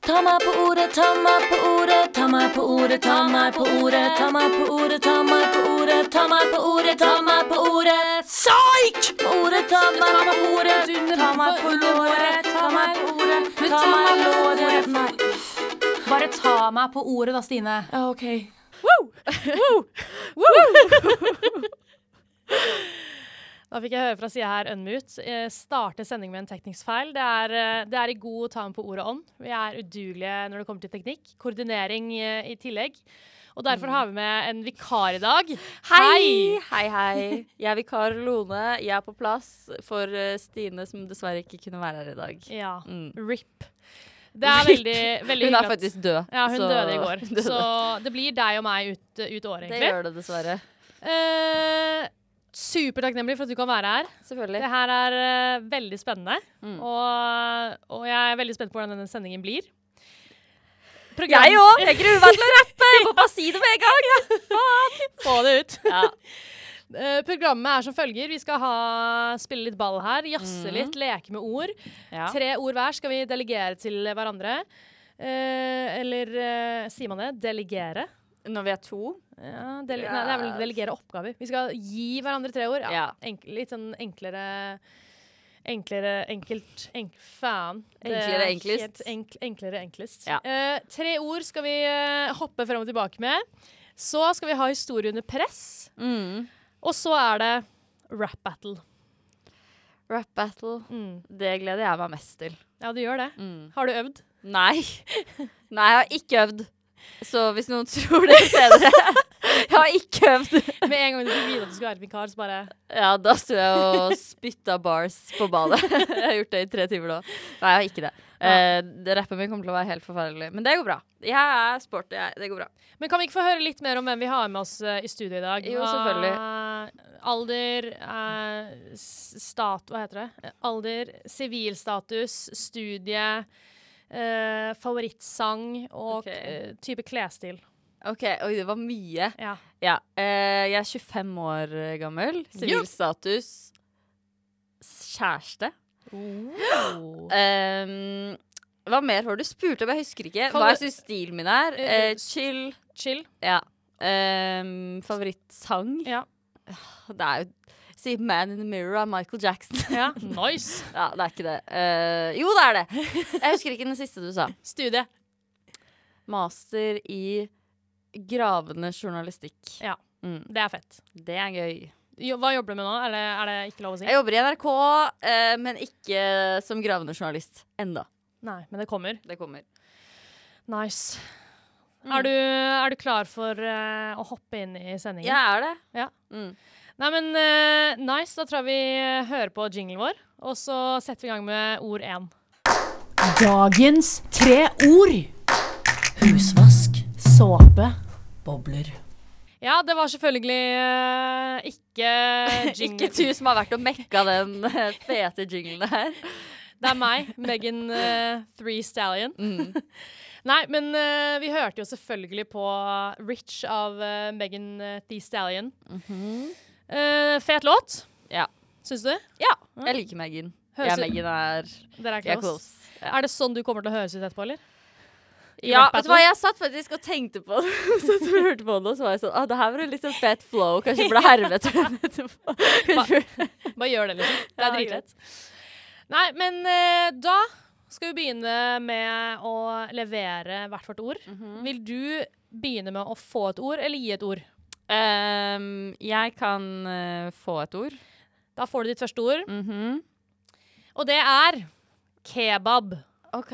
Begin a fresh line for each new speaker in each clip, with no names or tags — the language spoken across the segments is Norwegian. Ta meg på ordet, ta meg på ordet, ta meg på ordet, ta meg på ordet, ta meg på ordet, ta meg på ordet, ta meg på ordet, ta meg på ordet. Psyk! På ordet, ta meg på ordet, ta meg på låret, ta meg på ordet, ta meg på låret. Nei.
Bare ta meg på ordet da, Stine.
Ja, OK.
Da fikk jeg høre fra sida her, unmute. Eh, Starte sending med en teknisk feil. Det er, eh, det er i god ta med på ordet ånd. Vi er udugelige når det kommer til teknikk. Koordinering eh, i tillegg. Og derfor har vi med en vikar i dag.
Mm. Hei! Hei, hei. Jeg er vikar Lone. Jeg er på plass for eh, Stine, som dessverre ikke kunne være her i dag.
Ja.
Mm.
RIP. Det er
RIP.
veldig, veldig
Hun
hyggelig
er
at-
faktisk død.
Ja, hun
så-
døde i går.
Døde.
Så det blir deg og meg ut, ut året,
det
egentlig.
gjør det dessverre.
Eh, Supertakknemlig for at du kan være her. Det
Selvfølgelig.
her er eh, veldig spennende.
Mm.
Og, og jeg er veldig spent på hvordan denne sendingen blir. Program-
Jeg òg! Jeg gruer meg til å rappe! Jeg må bare si det med en gang.
Få det ut.
Ja.
Eh, programmet er som følger. Vi skal ha, spille litt ball her. Jazze litt, leke med ord.
Mm. Ja.
Tre ord hver skal vi delegere til hverandre. Eh, eller eh, sier man det? Delegere?
Når vi er to.
Ja, dele Nei, det er vel delegere oppgaver. Vi skal gi hverandre tre ord. Ja.
Ja.
Enk litt sånn enklere Enklere, enkelt enk Faen. Det
Enklere,
er
enklest.
helt Enk enklere, enklest.
Ja.
Eh, tre ord skal vi eh, hoppe frem og tilbake med. Så skal vi ha historie under press.
Mm.
Og så er det rap battle. Mm.
Rap battle. Det gleder jeg meg mest til.
Ja, du gjør det.
Mm.
Har du øvd?
Nei. Nei, jeg har ikke øvd. Så hvis noen tror det senere Jeg har ikke øvd.
Med en gang du fikk vite at du skulle være vikar, så bare
Ja, da sto jeg og spytta bars på badet. Jeg har gjort det i tre timer nå. Nei, jeg har ikke det. Eh, det rappen min kommer til å være helt forferdelig. Men det går bra. Jeg er sporty, jeg. Det går bra.
Men kan vi ikke få høre litt mer om hvem vi har med oss eh, i studio i dag?
Jo,
Eh, alder, eh, s- stat... Hva heter det? Eh, Alder, sivilstatus, studie, eh, favorittsang og
Ok.
eh, type klesstil.
OK, oi, det var mye.
Ja.
Ja. eh, jeg er 25 år gammel. Sivilstatus. Kjæreste. Ehm, hva mer var det du spurte om? Jeg husker ikke. Hva jeg syns stilen min er. Eh, chill.
Chill.
Ja. Ehm, favorittsang?
Ja.
Det er jo Si 'Man in the Mirror' av Michael Jackson.
Ja. Nice.
ja, det er ikke det. Eh, jo, det er det! Jeg husker ikke den siste du sa.
Studie.
Master i gravende journalistikk.
Ja.
Mm,
Det er fett.
det er gøy.
Jo, hva jobber du med nå? Er det, er det ikke lov å si?
Jeg jobber i NRK, eh, men ikke som gravende journalist enda.
Nei, men det kommer.
Det kommer.
Nice.
Mm.
Er, du, er du klar for eh, å hoppe inn i sendingen?
Jeg er det.
Ja.
Mm.
Nei, men eh, nice. Da tror jeg vi eh, hører på jinglen vår, og så setter vi i gang med ord én.
Dagens tre ord. Husvask, såpe, bobler.
Ja, det var selvfølgelig eh, ikke jingle.
Ikke du som har vært og mekka den eh, fete jinglen her.
Det er meg, Megan eh, Three Stallion. Nei, men eh, vi hørte jo selvfølgelig på Rich av eh, Megan eh, Thee Stallion. Eh, fet låt,
Ja.
syns du?
Ja, jeg liker Megan.
Høres
Jeg
ut-
og Megan er,
Dere er
vi er
close.
close.
Er det sånn du kommer til å høres ut etterpå, eller?
Ja,
rap
vet
battle?
du hva, jeg satt faktisk og tenkte på det. Så jeg hørte på det, og så var jeg sånn Å, det her var en litt sånn fett flow. Kanskje det ble hermet etterpå.
Bare gjør det, liksom. Det
Ja,
er dritlett. Nei, men eh, da skal vi begynne med å levere hvert vårt ord.
Mhm.
Vil du begynne med å få et ord, eller gi et ord?
Ehm, jeg kan eh, få et ord.
Da får du ditt første ord, og det er kebab.
OK.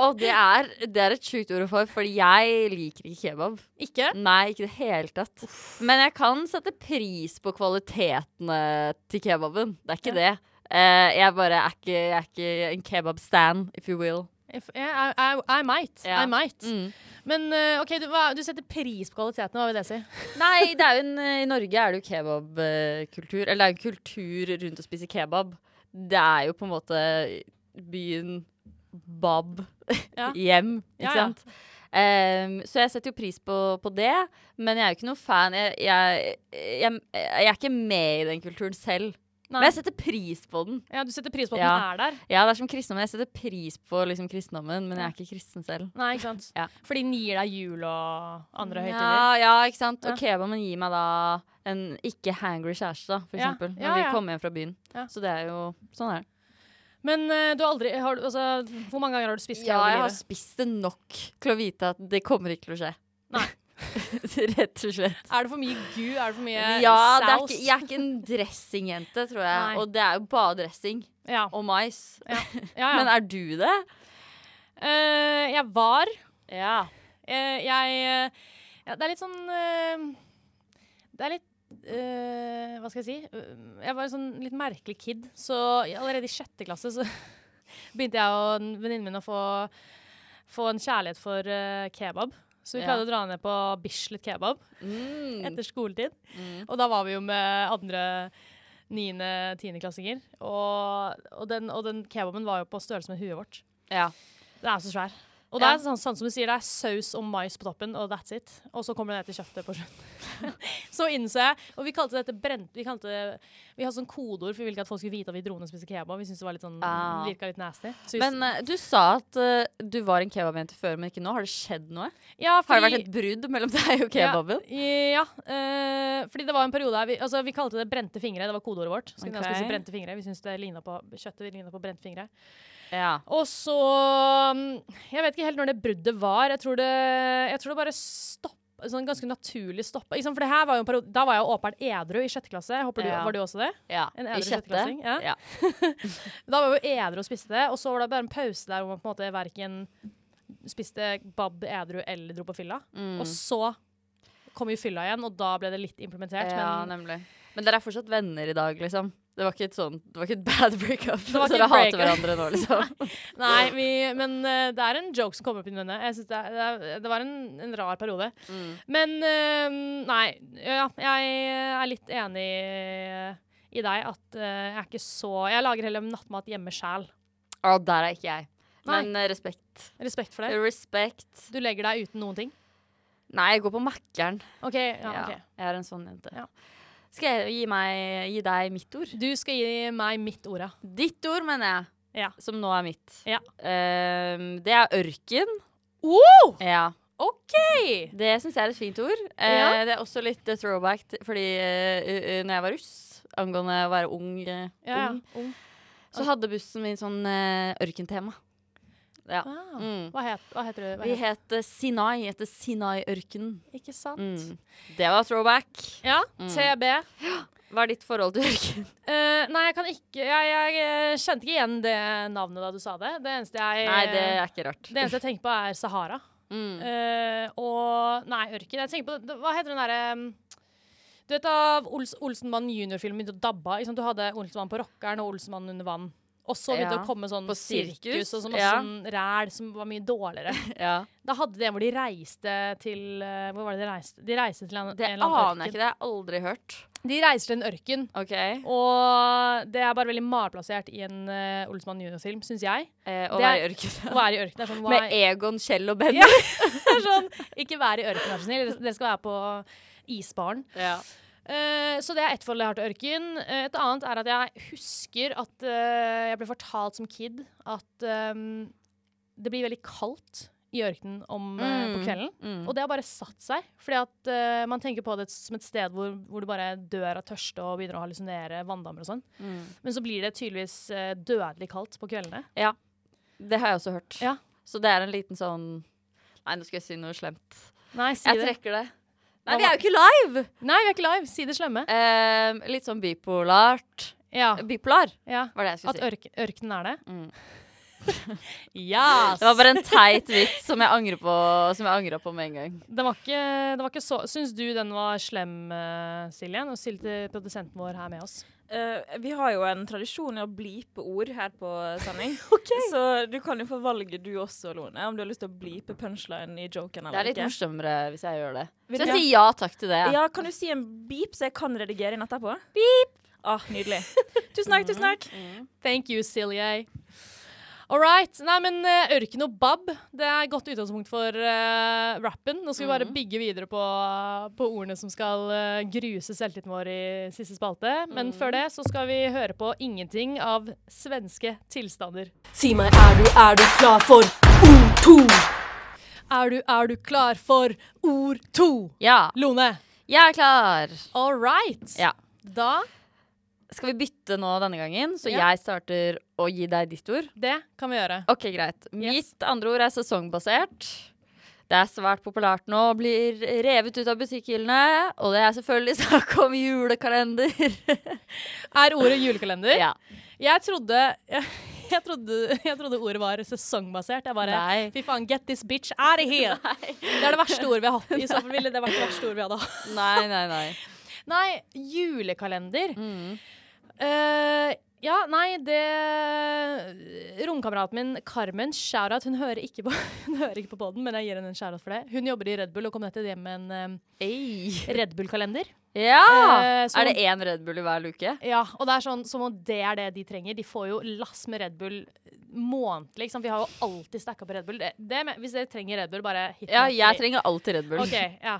Og det er, det er et sjukt ord å få, for jeg liker ikke kebab.
Ikke?
Nei, ikke i det hele tatt. Men jeg kan sette pris på kvalitetene til kebaben. Det er ikke det. Eh, jeg bare er ikke, jeg er ikke en kebab-stand, if you will.
If, eh, I, I, I might.
Ja.
I might.
Mm.
Men eh, OK, du, hva, du setter pris på kvaliteten, hva vil det si?
Nei, det er jo en, eh, i Norge er det jo kebabkultur. Eller det er jo en kultur rundt å spise kebab. Det er jo på en måte byen Bab
Ja.
hjem, ikke
Ja, ja.
sant? Ehm, så jeg setter jo pris på, på det, men jeg er jo ikke noen fan. Jeg, jeg, jeg, jeg er ikke med i den kulturen selv.
Nei.
Men jeg setter pris på den.
Ja, Du setter pris på at
Ja.
den er der?
Ja, det er som kristendommen. Jeg setter pris på liksom, kristendommen, men jeg er ikke kristen selv.
Nei, ikke sant?
Ja.
Fordi den gir deg jul og andre høytider?
Ja, ja, ikke sant?
Ja.
Og kebaben gir meg da en ikke hangry kjæreste, da, for
Ja.
eksempel. Når
Ja, ja.
vi kommer hjem fra byen.
Ja.
Så det er jo Sånn er det.
Men eh, du har aldri har du, altså, Hvor mange ganger har du spist
Ja,
kebab i
jeg har
livet?
spist det nok til å vite at det kommer ikke til å skje.
Nei.
Rett og slett.
Er det for mye gu? Er det for mye
Ja, det er
saus?
ikke, jeg er ikke en dressingjente, tror jeg.
Nei.
Og det er jo bare dressing
ja.
og mais.
Ja, ja.
Men er du det?
Eh, jeg var
Ja.
eh, Jeg eh, ja, Det er litt sånn eh, Det er litt eh, hva skal jeg si? Eh, Jeg var en sånn litt merkelig kid, så allerede i sjette klasse så begynte jeg og en venninnen min å få, få en kjærlighet for eh, kebab. Så vi
Ja.
pleide å dra ned på Bislett kebab
Mm.
etter skoletid. Og da var vi jo med andre niende-, tiendeklassinger. Og, og, den- og den kebaben var jo på størrelse med huet vårt.
ja.
Den er så svær. Og det
Ja.
er sånn, sånn som du sier, det er saus og mais på toppen, og that's it. Og så kommer det ned til kjøttet på slutten. så innså jeg Og vi kalte dette brent Vi, kalte, vi hadde sånn kodeord, for vi ville ikke at folk skulle vite at vi dro ned og spiste kebab. Vi syntes det var litt sånn,
Ah.
virka litt nasty. Så vi-
Men eh, du sa at eh, du var en kebabjente før, men ikke nå. Har det skjedd noe?
ja,
Har det
fordi-
vært et brudd mellom deg og kebaben?
Ja. ja eh, fordi det var en periode her vi, altså, vi kalte det brente fingre. Det var kodeordet vårt. Så kunne jeg
Ok.
spise brente fingre. Vi syntes det lignet på, kjøttet ligna på brente fingre.
Ja.
Og så mm, Jeg vet ikke helt når det bruddet var. Jeg tror det, jeg tror det bare stopp- Sånn ganske naturlig stoppa. Ikke sant? For det her var jo en periode, da var jeg jo åpenbart edru i sjette klasse. Jeg Håper du,
Ja.
Var du også det?
ja.
En
I
edru
kjøttet?
sjetteklassing, ja.
ja.
Da var jeg jo edru og spiste det. Og så var det bare en pause der hvor man på en måte verken spiste bab edru eller dro på fylla.
Mm.
Og så kom jo fylla igjen, og da ble det litt implementert.
ja,
men
nemlig. Men dere er fortsatt venner i dag, liksom? Det var ikke et sånn, det var ikke et bad breakup.
var
Så
ikke
dere
et
hater
breakup.
hverandre nå, liksom?
Nei, vi, men eh, det er en joke som kommer opp i denne. Jeg synes det, er- det, er- det var en, en rar periode.
Mm.
Men eh, nei, ja, jeg er litt enig eh, i deg at eh, jeg er ikke så Jeg lager heller nattmat hjemme sjæl.
Å, der er ikke jeg.
Nei.
Men eh, respekt.
Respekt for det.
Respekt.
Du legger deg uten noen ting.
Nei, jeg går på Mækkern.
OK. Ja,
Ja,
ok.
Jeg er en sånn jente.
Ja.
Skal jeg gi, meg, gi deg mitt ord?
Du skal gi meg mitt ord, ja.
Ditt ord, mener jeg.
Ja.
Som nå er mitt.
Ja.
Ehm, det er ørken.
Oh,
Ja.
OK!
Det syns jeg er et fint ord. Eh,
Ja.
Det er også litt eh, throwback, t- fordi uh, når jeg var russ, angående å være ung, eh,
Ja, ja. Ung.
ung så hadde bussen min sånn eh, ørkentema. Ja.
Ah.
Mm.
Hva, het, hva heter du? Hva
Vi
het-
het eh, Sinai etter Sinai-ørkenen.
Ikke sant?
Mm. Det var throwback.
Ja.
Mm.
TB.
Hva er ditt forhold til ørken?
Eh, nei, jeg kan ikke jeg, jeg eh, kjente ikke igjen det navnet da du sa det. Det eneste jeg,
Nei, det er ikke rart.
det eneste jeg tenker på, er Sahara.
Mm.
Eh, og Nei, ørken. Jeg tenker på det- Hva heter den derre um, Du vet av Ols, Olsenmann junior-filmen begynte å dabbe av. ikke sant? Du hadde Olsenmann på rockeren og Olsenmann under vann. Og så begynte det å
Ja.
komme sånn
På
sirkus,
sirkus,
og så masse
ja.
sånn ræl som var mye dårligere.
Ja.
Da hadde de en hvor de reiste til eh, Hvor var det de reiste? De reiste til en,
Det
en eller annen
aner jeg
ørken.
ikke. Det har jeg aldri hørt.
De reiser til en ørken.
Ok
Og det er bare veldig malplassert i en uh, Olsmann junior-film, syns jeg.
eh, Å
Det
være i
er- Å
ørken.
være i ørkenen er sånn,
Med
why?
Egon, Kjell og Benny.
Ja. sånn Ikke vær i ørkenen, vær så snill. Dere skal være på isbaren.
Ja.
Eh, så det er ett forhold jeg har til ørken. Eh, et annet er at jeg husker at eh, jeg ble fortalt som kid at ehm, det blir veldig kaldt i ørkenen om, eh, på
Mm.
kvelden.
Mm.
Og det har bare satt seg. Fordi at eh, man tenker på det som et sted hvor, hvor du bare dør av tørste og begynner å hallusinere vanndammer og sånn.
Mm.
Men så blir det tydeligvis eh, dødelig kaldt på kveldene.
Det har jeg også hørt.
Ja.
Så det er en liten sånn Nei, nå skal jeg si noe slemt.
Nei, si
Jeg
det.
trekker det. Nei,
Hva
vi er jo ikke live!
Nei, vi er ikke live. Si det slemme.
Ehm, litt sånn bipolart.
Ja.
Bipolar
ja.
var det
Ah.
jeg
At
skulle si.
ørk ørkenen er det?
Mm.
Ja!
Det var bare en teit vits som jeg angrer på Som jeg angra på med en gang.
Det var ikke, det var ikke så Syns du den var slem, eh, Silje? Nå stilte produsenten vår her med oss.
Eh, vi har jo en tradisjon i å bleepe ord her på sending. Så du kan jo få valget du også, Lone, om du har lyst til å bleepe punchline i joken
Det er
eller
litt
ikke.
morsommere hvis jeg gjør det.
Vil
Så
du-
jeg sier ja takk til det.
Ja, kan du si en beep, så jeg kan redigere inn etterpå?
Mm.
Beep! Ah, nydelig. Tusen takk, tusen takk.
Thank you, Silje. All right. Nei, men eh, Ørken og Bab, det er et godt utgangspunkt for eh, rappen. Nå skal vi bare bygge videre på, på ordene som skal eh, gruse selvtilliten vår i siste spalte. Men før det så skal vi høre på ingenting av svenske tilstander.
Si meg, er du, er du klar for O2?
Er du, er du klar for ord to?
Ja,
Lone.
jeg er klar.
All right.
Ja.
Da
Skal vi bytte nå denne gangen, så
Ja.
jeg starter å gi deg ditt ord?
Det kan vi gjøre.
Ok, greit. Mitt andre ord er sesongbasert. Det er svært populært nå, blir revet ut av butikkhyllene. Og det er selvfølgelig snakk om julekalender.
Er ordet julekalender?
ja.
Jeg trodde jeg, jeg trodde jeg trodde ordet var sesongbasert. Jeg bare
Nei.
Fy faen, get this bitch out of here! Det er det verste ordet vi har hatt. I så fall ville det vært det verste ordet vi hadde hatt.
Nei, nei, nei.
Nei, julekalender.
Mm.
Eh, ja, nei, det Romkameraten min Carmen, shout-out, hun hører ikke på Hun hører ikke på podden, men jeg gir henne en shout-out for det. Hun jobber i Red Bull og kom nettopp hjem med en eh, Red Bull-kalender.
Ja!
Eh, så-
er det én Red Bull i hver luke?
Ja, og det er sånn som om det er det de trenger. De får jo lass med Red Bull månedlig. Ikke sant? Vi har jo alltid stacka på Red Bull. Det, det, men hvis dere trenger Red Bull, bare hit
Ja,
me.
jeg trenger alltid Red Bull.
OK, ja.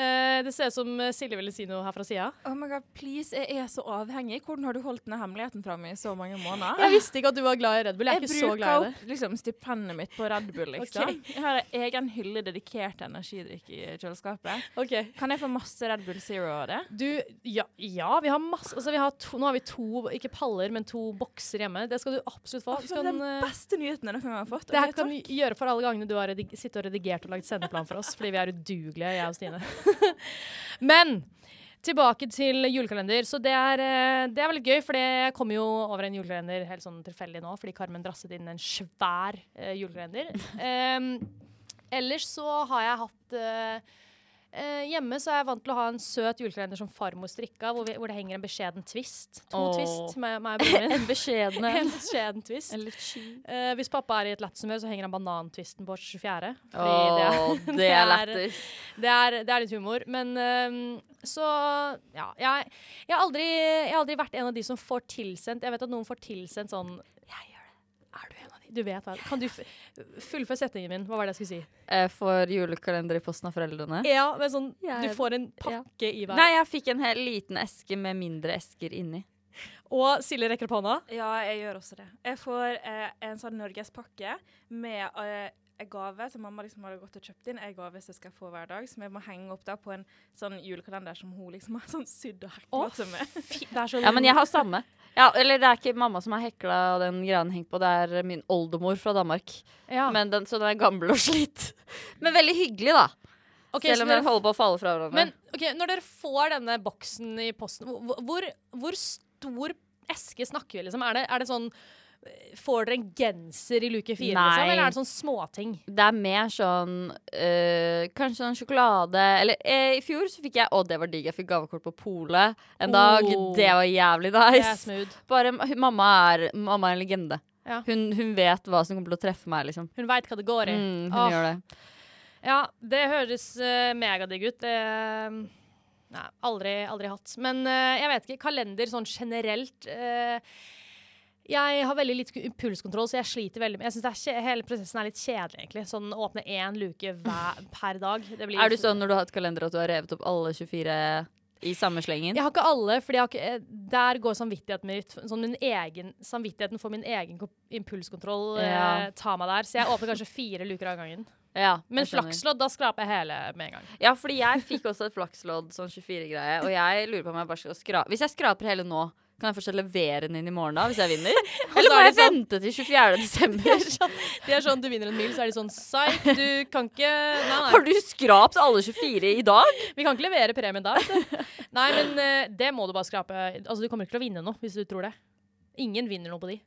Eh, det ser ut som eh, Silje ville si noe her fra sida.
Oh my god, please, jeg er så avhengig. Hvordan har du holdt denne hemmeligheten fra meg i så mange måneder?
Jeg visste ikke at du var glad i Red Bull. Jeg er ikke så glad i det.
opp liksom, stipendet mitt på Red Bull, liksom. Jeg har en egen hylle dedikert til energidrikk i kjøleskapet.
Ok.
Kan jeg få masse Red Bull Zero av det?
Du, ja, ja, vi har masse altså, vi har to, Nå har vi to, ikke paller, men to bokser hjemme. Det skal du absolutt få. Du
Det er
kan,
den
eh,
beste nyheten dere kan ha fått.
det her
Ok,
kan
takk.
du gjøre for alle gangene du har redig- sittet og redigert og lagd sendeplan for oss, fordi vi er udugelige, jeg og Stine. Men tilbake til julekalender. Så det er, eh, det er veldig gøy, for jeg kom jo over en julekalender helt sånn tilfeldig nå, fordi Carmen drasset inn en svær eh, julekalender. Em, ellers så har jeg hatt eh, eh, hjemme så er jeg vant til å ha en søt julekalender som farmor strikka, hvor, vi, hvor det henger en beskjeden twist. To
Åh.
twist med meg og broren min.
En beskjeden en.
En beskjeden twist.
En litt sky.
Eh, hvis pappa er i et lett humør, så henger han banantvisten på 24.
Å,
Fordi
det er,
det er-
lættis.
det, er, det er litt humor. Men ehm, så Ja. Jeg, jeg, har aldri, jeg har aldri vært en av de som får tilsendt Jeg vet at noen får tilsendt sånn Jeg gjør det. Er du en av de? Du vet hva Kan du f fullføre setningen min? Hva var det jeg skulle si?
Eh, Får julekalender i posten av foreldrene.
Ja, men sånn
Jeg
Du
er-
får en pakke i hver.
Nei, jeg fikk en hel liten eske med mindre esker inni.
Og Silje rekker opp hånda.
Ja, jeg gjør også det. Jeg får eh, en sånn norgespakke med eh, en gave som mamma liksom hadde gått og kjøpt inn. En gave som jeg skal få hver dag, som jeg må henge opp da på en sånn julekalender som hun liksom har sånn sydd og hekla
Å,
til meg.
Fy, det er så
Ja, men jeg har samme. Ja, eller det er ikke mamma som har hekla den greia den henger på, det er min oldemor fra Danmark.
Ja.
Men den, så den er gammel og slitt. Men veldig hyggelig, da.
Ok, så
Selv om
dere
den holder på å falle fra hverandre.
Men ok, når dere får denne boksen i posten, hvor, hvor, hvor stor eske snakker vi liksom? Er det, er det sånn eh, Får dere en genser i luke fire,
Nei.
liksom? Eller er det sånn småting?
det er mer sånn øh, Kanskje sånn sjokolade Eller eh, i fjor så fikk jeg Å, det var digg. Jeg fikk gavekort på polet en dag.
Oh.
Det var jævlig
Det er
nice.
smooth.
Bare, hun- mamma, er, mamma er en legende.
Ja.
Hun, hun vet hva som kommer til å treffe meg, liksom.
Hun veit hva det går i.
Mm, hun
Åh.
gjør det.
Ja, det høres eh, megadigg ut. Det eh, Nei, aldri, aldri hatt. Men eh, jeg vet ikke. Kalender sånn generelt eh, Jeg har veldig litt impulskontroll, så jeg sliter veldig med Jeg synes det er kje- Hele prosessen er litt kjedelig, egentlig. Sånn åpne én luke hver, per dag. Det blir
Er du sånn når du har hatt kalender at du har revet opp alle 24 i samme slengen?
Jeg har ikke alle, for jeg har ikke, eh, der går samvittigheten min ut. Sånn min egen, samvittigheten for min egen ko- impulskontroll eh,
Ja.
tar meg der. Så jeg åpner kanskje fire luker av gangen.
Ja,
Men
jeg skjønner.
flakslodd, da skraper jeg hele med en gang.
Ja, fordi jeg fikk også et flakslodd, sånn 24-greie, og jeg lurer på om jeg bare skal skrape Hvis jeg skraper hele nå, kan jeg fortsatt levere den inn i morgen da, hvis jeg vinner? Eller
så
må
er
jeg
det sånn-
vente til 24. desember?
De er sånn, Du vinner en mil, så er de sånn Psyk, du kan ikke Nei, nei.
Har du skrapt alle 24 i dag?
Vi kan ikke levere premien da. vet du. Nei, men eh, det må du bare skrape. Altså, Du kommer ikke til å vinne noe hvis du tror det. Ingen vinner noe på de.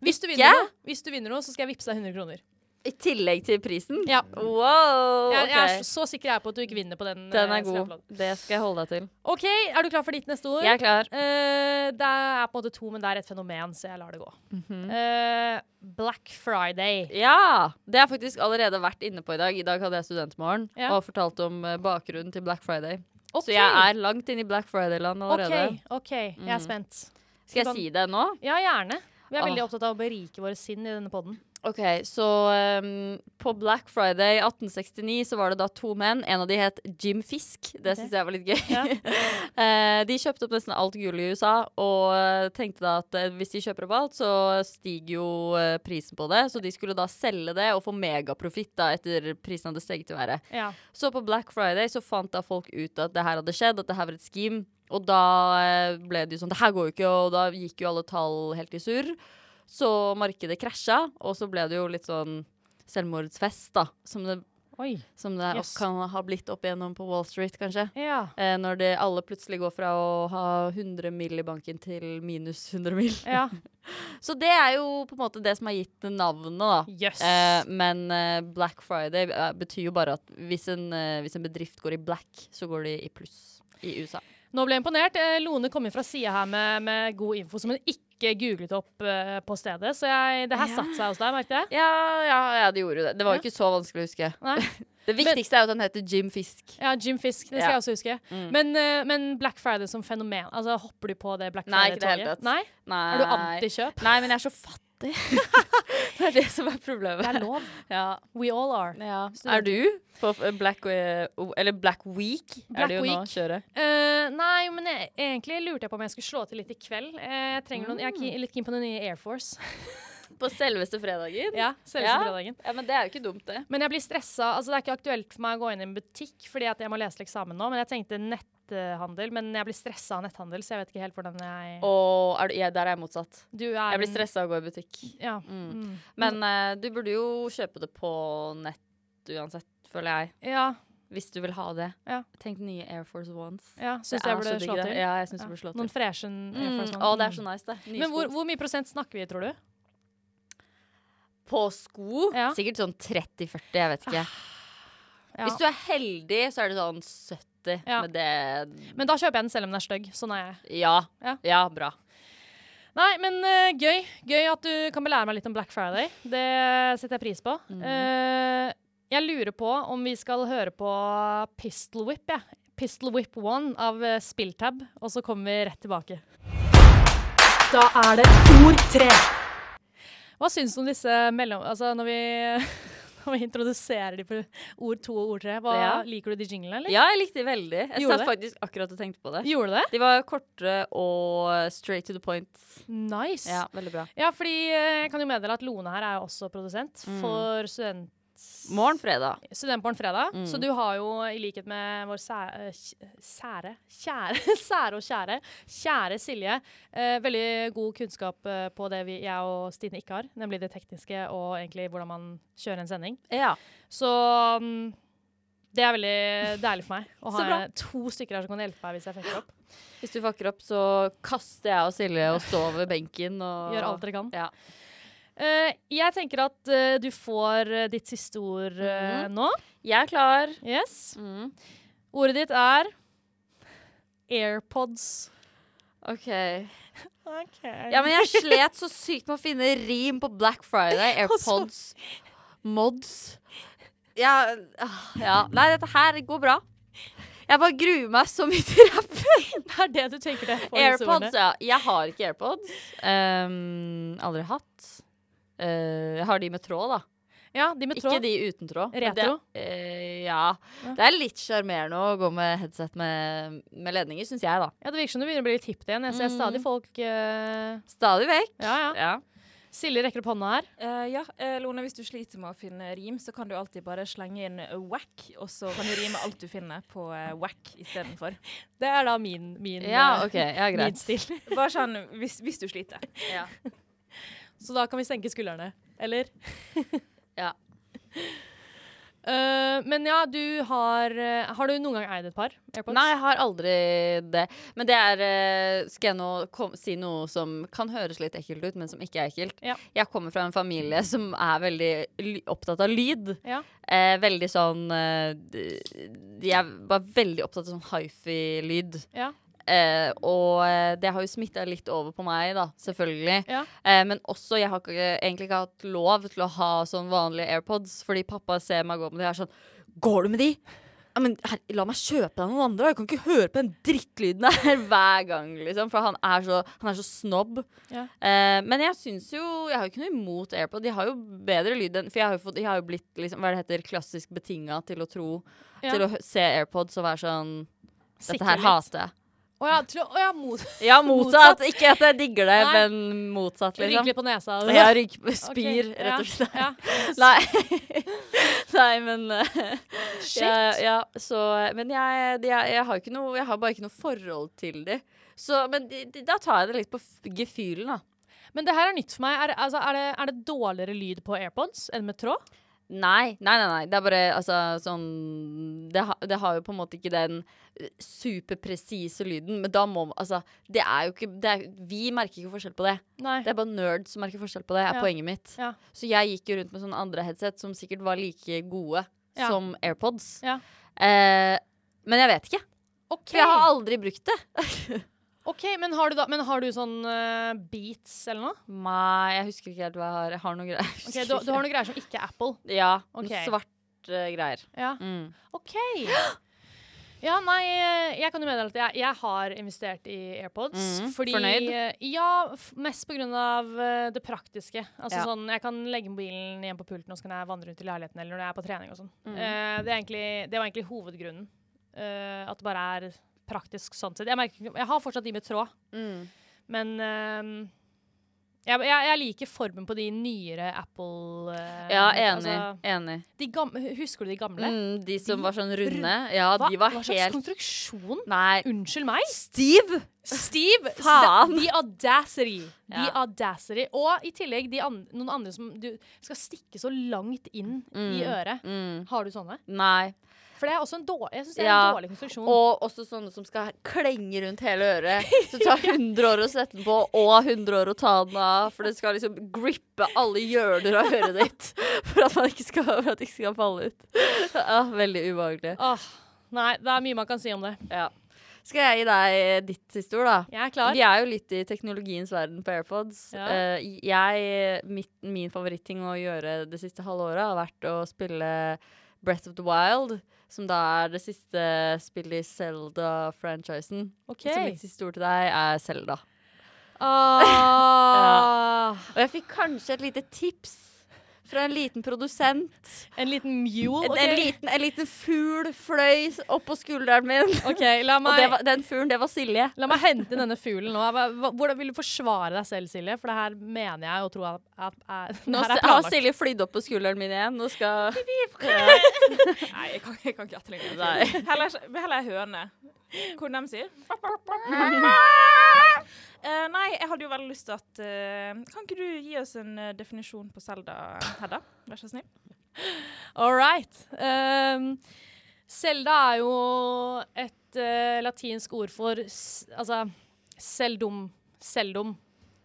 Hvis du vinner,
Ikke?
noe, hvis du vinner noe, så skal jeg vippse deg 100 kroner.
I tillegg til prisen?
Ja.
Wow!
Jeg, jeg er
ok.
så sikker jeg er på at du ikke vinner på den.
Den
eh,
er god.
skrapelodden.
Det skal jeg holde deg til.
OK, er du klar for ditt neste ord?
Jeg er klar.
Eh, det er på en måte to, men det er et fenomen, så jeg lar det gå.
Mhm.
Eh, Black Friday.
Ja! Det har jeg faktisk allerede vært inne på i dag. I dag hadde jeg studentmorgen
Ja.
og fortalte om eh, bakgrunnen til Black Friday.
Ok,
Så jeg er langt inn i Black Friday-land allerede. Mhm.
OK, ok, jeg er spent.
Skal jeg
Hvordan-
si det nå?
Ja, gjerne. Vi er
Åh.
Ah. veldig opptatt av å berike våre sinn i denne poden.
OK, så um, på Black Friday 1869 så var det da to menn. En av de het Jim Fisk. Det syns jeg var litt gøy.
Ja.
Eh, de kjøpte opp nesten alt gull i USA og eh, tenkte da at eh, hvis de kjøper opp alt, så stiger jo eh, prisen på det. Så de skulle da selge det og få megaprofitt da etter prisen hadde steget i været.
Ja.
Så på Black Friday så fant da folk ut at det her hadde skjedd, at det her var et skim. Og da eh, ble det jo sånn Det her går jo ikke, og da gikk jo alle tall helt i surr. Så markedet krasja, og så ble det jo litt sånn selvmordsfest, da. Som det,
Oi.
som det
Yes.
kan ha blitt opp igjennom på Wall Street, kanskje.
Ja.
Eh, når det, alle plutselig går fra å ha 100 mill. i banken til minus 100 mill.
Ja.
Så det er jo på en måte det som har gitt det navnet, da.
Jøss.
Eh, men eh, Black Friday eh, betyr jo bare at hvis en, eh, hvis en bedrift går i black, så går de i pluss i USA.
Nå ble jeg imponert. Eh, Lone kom inn fra sida her med, med god info som hun ikke googlet opp eh, på stedet. Så jeg, det her satte seg hos deg, merket jeg.
Ja, ja, ja, det gjorde jo det. Det var jo ikke så vanskelig å huske.
Nei.
Det viktigste er jo at han heter Jim Fisk.
Ja, Jim Fisk. Det skal
Ja.
jeg også huske.
Mm.
Men, eh, men Black Friday som fenomen, altså hopper du på det Black
Nei, ikke det hele
Friday-toget?
tatt.
Nei,
Nei.
Er du antikjøp?
Nei, men jeg er så fattig. det er det som er problemet.
Det er lov.
Ja.
We all are.
Ja. Er du på eh, Black, eh, o- eller Black Week?
Black
er det jo nå
Week.
kjøret.
Eh, nei, men jeg, egentlig lurte jeg på om jeg skulle slå til litt i kveld. Eh, jeg, trenger noen, jeg er ki- litt keen på den nye Air Force.
På selveste fredagen?
ja, selveste
Ja.
fredagen.
Ja, men det er jo ikke dumt, det.
Men jeg blir stressa. Altså, det er ikke aktuelt for meg å gå inn i en butikk fordi at jeg må lese til eksamen nå. Men jeg tenkte netthandel, men jeg blir stressa av netthandel, så jeg vet ikke helt hvordan jeg
Og er du, ja, der er jeg motsatt.
Du er
Jeg blir
en-
stressa av å gå i butikk.
Ja.
Mm.
Mm.
Men eh, du burde jo kjøpe det på nett uansett, føler jeg.
ja.
Hvis du vil ha det.
Ja.
Tenk nye Air Force Ones.
Ja, syns
Det
jeg
er
burde
så digg,
slå
det.
til.
Ja, jeg synes
Ja.
du burde slå til.
Noen freshen Air Force
Mm.
One.
Å, det er så nice, det. Nye
Men hvor,
sko.
hvor mye prosent snakker vi, tror du?
På sko?
Ja. Ah,
Sikkert sånn 30-40, jeg vet ikke.
Ja.
Hvis du er heldig, så er det sånn 70
Ja.
med det.
Men da kjøper jeg den selv om den er stygg. Sånn er jeg.
Ja.
Ja.
Ja, bra.
Nei, men eh, gøy. Gøy at du kan belære meg litt om Black Friday. Det setter jeg pris på.
Mhm.
Eh, jeg lurer på om vi skal høre på Pistol Whip, jeg. Pistol Whip 1 av eh, Spilltab, og så kommer vi rett tilbake.
Da er det ord tre.
Hva syns du om disse mellom... Altså, når vi, når vi introduserer de på ord to og ord tre, hva,
Ja.
liker du de jinglene, eller?
Ja, jeg likte de veldig. Jeg
Gjorde
satt
det?
faktisk akkurat og tenkte på det.
Gjorde du det?
De var kortere og straight to the point.
Nice.
Ja, veldig bra.
Ja, fordi eh, jeg kan jo meddele at Lone her er jo også produsent for student...
Mm. Morgen Mm. fredag.
Studentbarn fredag. Så du har jo, i likhet med vår sære, sære kjære, sære og kjære, kjære Silje, eh, veldig god kunnskap eh, på det vi, jeg og Stine ikke har, nemlig det tekniske og egentlig hvordan man kjører en sending.
Ja.
Så mm, det er veldig deilig for meg å
Så
ha
bra.
to stykker her som kan hjelpe meg hvis jeg fucker opp.
Hvis du fucker opp, så kaster jeg og Silje og står ved benken og
Gjør alt dere kan.
Ja.
Eh, jeg tenker at eh, du får eh, ditt siste ord eh, nå.
Jeg er klar.
Yes.
Mm.
Ordet ditt er AirPods.
OK. Ja, men jeg slet så sykt med å finne rim på Black Friday. AirPods. Mods. Ja, ah, ja. Nei, dette her går bra. Jeg bare gruer meg så mye til rapp.
Det er det du tenker det er for disse
AirPods,
ordene.
ja. Jeg har ikke AirPods. Um, aldri hatt. Eh, jeg har de med tråd, da.
Ja, de med
Ikke
tråd.
de uten tråd. men
Retro?
Det, eh, ja. Det er litt sjarmerende å gå med headset med, med ledninger, syns jeg, da.
Ja, det virker som du begynner å bli litt hipt igjen. Jeg ser
Mm.
stadig folk eh,
Stadig vekk.
Ja, ja.
Ja.
Silje rekker opp hånda her.
Eh, ja, eh, Lone, hvis du sliter med å finne rim, så kan du alltid bare slenge inn eh, whack, og så kan du rime alt du finner på eh, whack istedenfor.
Det er da min, min,
Ja,
eh,
OK. Ja,
min
greit.
stil.
Bare sånn hvis, hvis du sliter.
Ja.
Så da kan vi senke skuldrene. Eller?
Ja.
Eh, men ja, du har eh, Har du noen gang eid et par AirPods?
Nei, jeg har aldri det. Men det er eh, Skal jeg nå kom, si noe som kan høres litt ekkelt ut, men som ikke er ekkelt?
Ja.
Jeg kommer fra en familie som er veldig ly- opptatt av lyd.
Ja.
Eh, veldig sånn eh, de- De er bare veldig opptatt av sånn hifi-lyd.
Ja.
Eh, og eh, det har jo smitta litt over på meg, da, selvfølgelig.
Ja.
Eh, men også, jeg har ikke, egentlig ikke hatt lov til å ha sånn vanlige AirPods, fordi pappa ser meg gå med de her sånn Går du med de? ja, men her, La meg kjøpe deg noen andre. da. Jeg kan ikke høre på den drittlyden her hver gang. Liksom, for han er så, han er så snobb.
Ja.
Eh, men jeg syns jo Jeg har jo ikke noe imot AirPod. De har jo bedre lyd enn For jeg har jo, fått, jeg har jo blitt liksom, hva det heter, klassisk betinga til å tro
Ja.
Til å hø- se AirPods og være sånn
Sikre
Dette her
litt.
hater Liksom. jeg.
Å ja, tro, å, ja mot.
Ja, motsatt. Ikke at jeg digger det,
Nei.
men motsatt,
Rygg
liksom.
litt på nesa.
Ja, rygg,
Ok,
spyr,
ja,
rett og slett.
Ja.
Nei. Nei, men eh,
Shit.
jeg, ja, så, Men jeg, jeg, jeg, har ikke noe, jeg har bare ikke noe forhold til de. Så, men de, de, da tar jeg det litt på f- gefühlen, da.
Men det her er nytt for meg. Er, det- altså, er, det, er det dårligere lyd på AirPods enn med tråd?
Nei, nei, nei. nei. Det er bare altså, sånn det, ha, det har jo på en måte ikke den eh, superpresise lyden, men da må Altså, det er jo ikke det er, Vi merker ikke forskjell på det.
Nei.
Det er bare nerds som merker forskjell på det, er
Ja.
poenget mitt.
Ja.
Så jeg gikk jo rundt med sånne andre headset som sikkert var like gode
Ja.
som AirPods.
Ja.
Eh, men jeg vet ikke.
OK,
For jeg har aldri brukt det.
Ok, men, har du da, men har du sånn eh, beats eller noe?
Nei, jeg husker ikke helt hva jeg har. Jeg har noen greier.
Ok, du, du har noen greier som ikke er Apple.
Ja,
Ok.
noen svarte greier.
Ja.
Mm.
OK. Ja, nei, eh, jeg kan jo meddele at jeg, jeg har investert i AirPods.
Mhm,
fordi,
fornøyd?
eh, Ja, f mest på grunn av eh, det praktiske. Altså
Ja.
sånn, Jeg kan legge mobilen igjen på pulten, og så kan jeg vandre rundt i leiligheten eller når jeg er på trening og sånn.
Mhm.
Eh, det, er egentlig, det var egentlig hovedgrunnen. eh, at det bare er praktisk sånn sett. Jeg, merker, ikke- jeg har fortsatt de med tråd,
Mm.
men eh, jeg, jeg, jeg liker formen på de nyere Apple eh,
Ja, enig.
altså,
enig.
de gamle, husker du de gamle?
Mm, de som
De-
var sånn runde. Ja,
Hva,
de var
hva slags
helt
konstruksjon?
Nei.
Unnskyld meg?
Steve!
Steve!
Faen!
The audacity. The
Ja.
audacity. Og i tillegg de an noen andre som du skal stikke så langt inn i
Mm.
øret.
Mm.
Har du sånne?
Nei.
For det er også en dårlig, jeg synes det er
Ja.
en dårlig konstruksjon.
Og også sånne som skal klenge rundt hele øret. Så det tar 100 år å sette den på, og 100 år å ta den av. For det skal liksom grippe alle hjørner av øret ditt. For at man ikke skal, for at det ikke skal falle ut. Ja, veldig ubehagelig.
Åh, nei, det er mye man kan si om det.
Ja. Skal jeg gi deg eh, ditt siste ord, da?
Jeg er klar.
Vi er jo litt i teknologiens verden på AirPods.
Ja.
Eh, jeg, mitt, min favoritting å gjøre det siste halve året har vært å spille Breath of the Wild, som da er det siste spillet i Zelda-franchisen.
Ok.
Så mitt siste ord til deg er Zelda.
Ah.
Og jeg fikk kanskje et lite tips fra en liten produsent.
En liten mule.
En,
ok.
en, liten, en liten fugl fløy oppå skulderen min.
OK, la
Og det
meg,
var, den fuglen, det var Silje.
la meg hente inn denne fuglen nå. Hva- hva- Hvordan vil du forsvare deg selv, Silje? For det her mener jeg og tror jeg er, er, det
Nå
her er
har
planlagt.
Silje flydd opp på skulderen min igjen. Nå skal
Nei, jeg kan, jeg kan ikke etterligne det.
Nei.
Heller, heller høne. Hvordan de sier. Eh, nei, jeg hadde jo veldig lyst til at eh, Kan ikke du gi oss en eh, definisjon på Selda, Hedda? Vær så snill.
All right. Um, Selda er jo et eh, latinsk ord for s altså seldom. Seldom.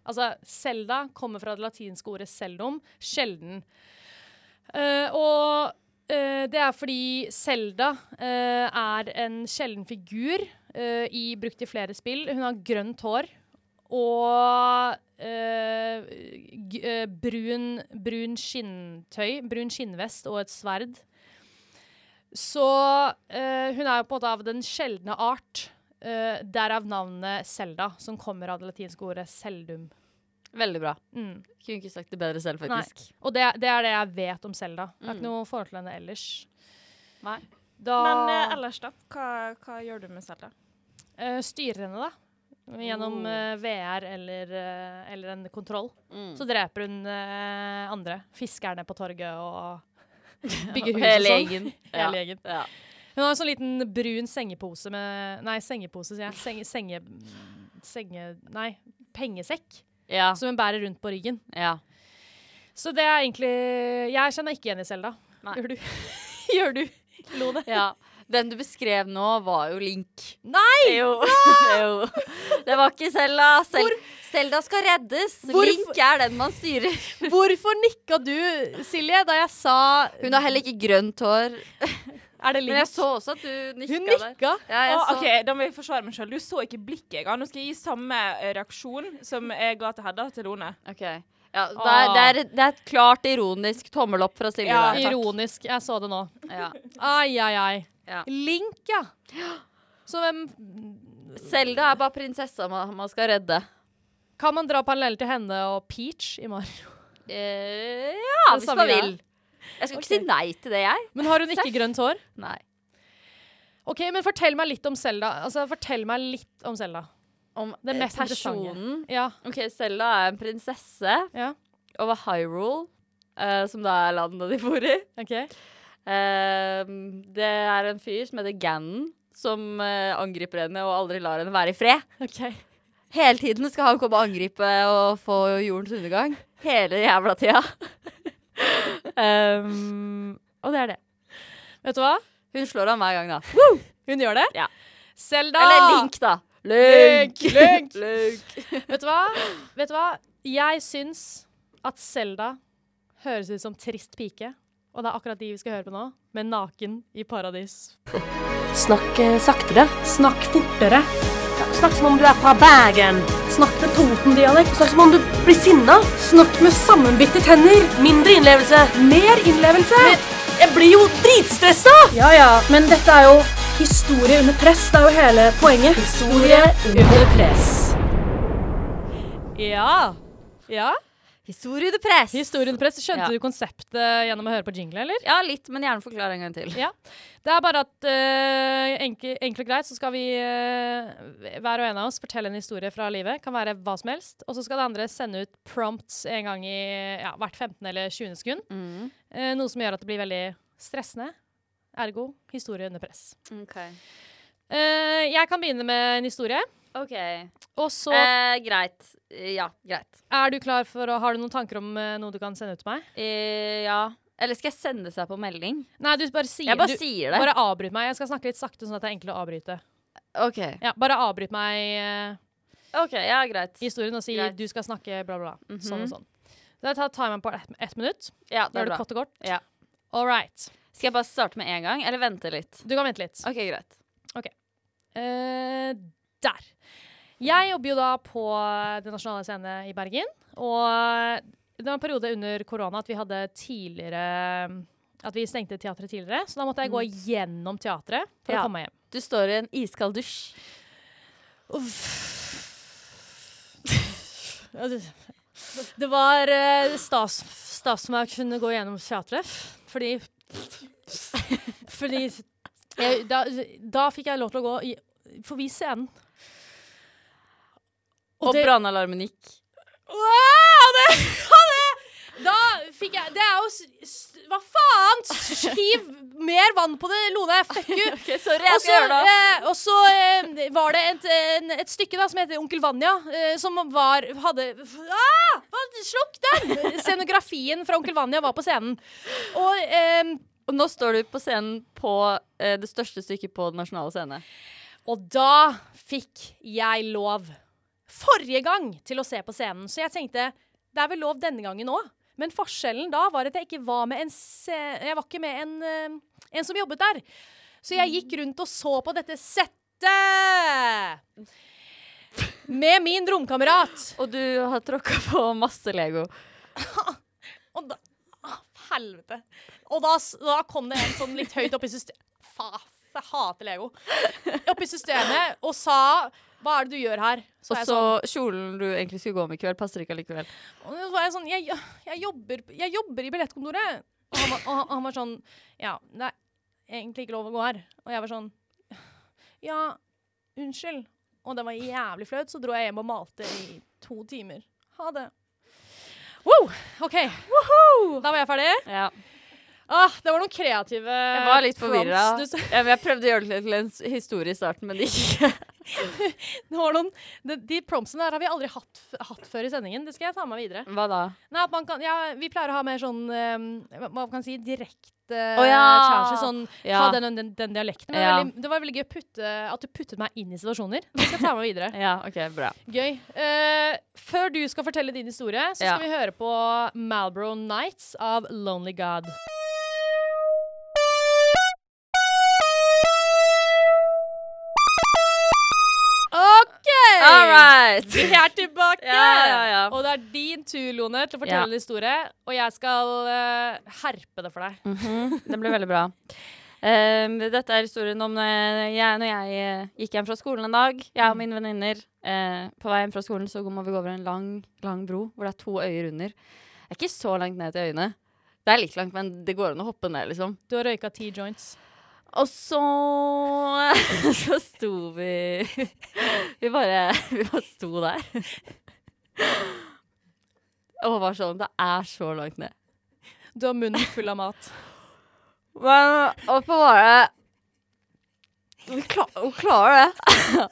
Altså, Selda kommer fra det latinske ordet seldom, sjelden. Eh, og eh, det er fordi Selda eh, er en sjelden figur eh, i, brukt i flere spill. Hun har grønt hår og eh, g eh, brun, brun skinntøy, brun skinnvest og et sverd. Så eh, hun er jo på en måte av den sjeldne art. eh, derav navnet Selda, som kommer av det latinske ordet seldum.
Veldig bra.
Mm.
Kunne ikke sagt det bedre selv, faktisk.
Og det, det er det jeg vet om Selda. Jeg har
Mm.
ikke noe forhold til henne ellers.
Nei.
Da
Men eh, ellers, da? Hva, hva gjør du med Selda?
eh, styrer henne, da. Gjennom
Oh.
eh, VR eller, eh, eller en kontroll.
Mm.
Så dreper hun eh, andre. Fiskerne på torget og bygger hus og
Hele
sånn.
gjengen.
Hele
Ja.
gjengen.
Ja.
Hun har en sånn liten brun sengepose med Nei, sengepose, sier jeg. Senge, senge, senge... Nei, pengesekk.
Ja.
Som hun bærer rundt på ryggen.
ja.
Så det er egentlig Jeg kjenner ikke igjen i Selda.
Nei.
Gjør du? Gjør du? Lo det.
ja. Den du beskrev nå, var jo Link.
Nei!
Jo. jo. Det var ikke Selda. Sel Selda skal reddes.
Hvorfor-
Link er den man styrer.
Hvorfor nikka du, Silje, da jeg sa
Hun har heller ikke grønt hår.
Er det
Men jeg
link?
så også at du nikka
Hun
der.
nikka.
Ja, jeg
Å,
så.
OK, da må jeg forsvare meg sjøl. Du så ikke blikket jeg ga. Nå skal jeg gi samme eh, reaksjon som jeg ga til Hedda, til Lone.
Ok. Ja, det, er, det, er, det er et klart ironisk tommel opp fra Silje.
Ja,
der, takk.
Ironisk. Jeg så det nå.
Ja.
Ai, ai, ai.
Ja.
Link, ja. Så hvem
Selda er bare prinsessa man, man skal redde.
Kan man dra parallell til henne og Peach i Mario?
Eh, ja,
Det
hvis
samme
man
jeg.
vil. Jeg skal ikke
Ok.
si nei til det, jeg.
Men har hun ikke
Seff.
grønt hår?
Nei.
Ok, men fortell meg litt om Selda. Altså, fortell meg litt om Selda.
Om
Den
eh,
mest interessante.
personen
Ja,
OK, Selda er en prinsesse
ja,
over Hyrule, eh, som da er landet de bor i.
ok.
Eh, det er en fyr som heter Gannon, som eh, angriper henne og aldri lar henne være i fred.
ok.
Hele tiden skal han komme og angripe og få jordens undergang. Hele jævla tida. um, og det er det.
Vet du hva?
Hun slår ham hver gang, da.
Hun gjør det.
Ja.
Selda!
Eller Link, da.
Link, Link.
Link.
Vet du hva? Vet du hva? Jeg syns at Selda høres ut som trist pike. Og det er akkurat de vi skal høre på nå, med Naken i paradis.
Snakk eh, saktere. Snakk fortere. Snakk som om du er fra Bergen. Snakk med Toten-dialekt. Snakk som om du blir sinna. Snakk med sammenbitte tenner. Mindre innlevelse. Mer innlevelse. jeg blir jo dritstressa! Ja ja, men dette er jo historie under press. Det er jo hele poenget. Historie under press.
Ja! Ja,
Historie the press.
Historien press. Skjønte
Ja.
du konseptet gjennom å høre på jingle, eller?
Ja, litt, men gjerne forklar en gang til.
Ja. Det er bare at eh, enke- enkelt og greit så skal vi eh, hver og en av oss fortelle en historie fra livet. Kan være hva som helst. Og så skal det andre sende ut prompts en gang i ja, hvert 15. eller 20. sekund.
Mm.
Eh, noe som gjør at det blir veldig stressende. Ergo historie under press.
OK.
Eh, jeg kan begynne med en historie. Og så
Eh, greit. Ja, greit.
er du klar for å Har du noen tanker om eh, noe du kan sende ut til meg?
Eh, ja. Eller skal jeg sende seg på melding?
Nei, du bare sier
Jeg bare
du,
sier det.
Bare avbryt meg. Jeg skal snakke litt sakte, sånn at det er enkelt å avbryte.
OK.
Ja, bare avbryt meg eh,
Ok, Ja, greit.
historien og si
Greit.
du skal snakke bla, bla, bla. Sånn og
Mhm.
sånn. Så jeg tar timeren på ett ett minutt. Da
Ja, det
er
er
det
bra.
kort og kort.
Ja.
All right.
Skal jeg bare starte med en gang, eller vente litt?
Du kan vente litt.
OK, greit.
Eh, der. Jeg jobber jo da på eh, Den nasjonale scene i Bergen. Og eh, det var en periode under korona at vi hadde tidligere At vi stengte teatret tidligere. Så da måtte jeg gå gjennom teatret for
Mm. Ja.
å komme meg hjem.
Du står i en iskald dusj.
Altså, Det var eh, stas, stas for meg å kunne gå gjennom teatret, fordi Fordi jeg, da, da fikk jeg lov til å gå i, forbi scenen.
Og,
det-
brannalarmen gikk.
Wow, det, og det, da fikk jeg Det er jo s- s- Hva faen? Skiv mer vann på det, Lone. Fuck you.
sorry,
Og så, eh, og så eh, var det et, en, et stykke da, som heter Onkel Vanja, eh, som var hadde ah, hva- Slukk den! Scenografien fra Onkel Vanja var på scenen. Og eh,
Og nå står du på scenen på eh, det største stykket på den nasjonale scene.
Og da fikk jeg lov forrige gang til å se på scenen, så jeg tenkte det er vel lov denne gangen òg. Men forskjellen da var at jeg ikke var med en se Jeg var ikke med en, eh, en som jobbet der. Så jeg gikk rundt og så på dette settet! Med min romkamerat.
Og du har tråkka på masse Lego.
Og da Å, helvete. Og da, s- da kom det en sånn litt høyt opp i systemet Faen, jeg hater Lego. Opp i systemet og sa Hva er det du gjør her? Så
Og
var jeg
så sånn- kjolen du egentlig skulle gå med i kveld, passer ikke allikevel.
Og så var jeg sånn Jeg, jeg, jobber, jeg jobber i billettkontoret. Og han, var, og han- han var sånn Ja, det er egentlig ikke lov å gå her. Og jeg var sånn Ja, unnskyld. Og det var jævlig flaut, så dro jeg hjem og malte i to timer. Ha det. Wow, OK. Da var jeg ferdig.
Ja.
Ah, det var noen kreative
Jeg var litt forvirra.
prompts du s-
Ja, men jeg prøvde å gjøre det til en s- historie i starten, men det gikk ikke.
Det var noen, de, de prompsene der har vi aldri hatt, f- hatt før i sendingen. Det skal jeg ta med meg videre.
Hva da?
Nei, at man kan, ja, vi pleier å ha mer sånn ehm, hva hva man kan si, direkte uh,
Å ja.
challenges. Sånn,
Ja.
Ha den, og den, den dialekten. Men det var
Ja.
veldig, det var veldig gøy å putte, at du puttet meg inn i situasjoner. Det skal jeg ta med videre.
Ja, OK, bra.
Gøy. Eh, før du skal fortelle din historie, så skal
Ja.
vi høre på Malbro Nights av Lonely God. OK!
All right.
Vi er tilbake!
Ja, ja, ja.
Og det er din tur, Lone, til å fortelle
Ja.
en historie. Og jeg skal eh, herpe det for deg.
Mhm, Det ble veldig bra. Eh, Ehm, dette er historien om når jeg, når jeg eh, gikk hjem fra skolen en dag. Jeg og mine venninner. eh, på vei hjem fra skolen så må vi gå over en lang, lang bro hvor det er to øyer under. Det er ikke så langt ned til øyene. Det er litt langt, men det går an å hoppe ned, liksom.
Du har røyka ti joints.
Og så Så sto vi Vi bare Vi bare sto der. Og var sånn Det er så langt ned.
Du har munnen full av mat.
Men oppe var det Vi klar, hun klarer det.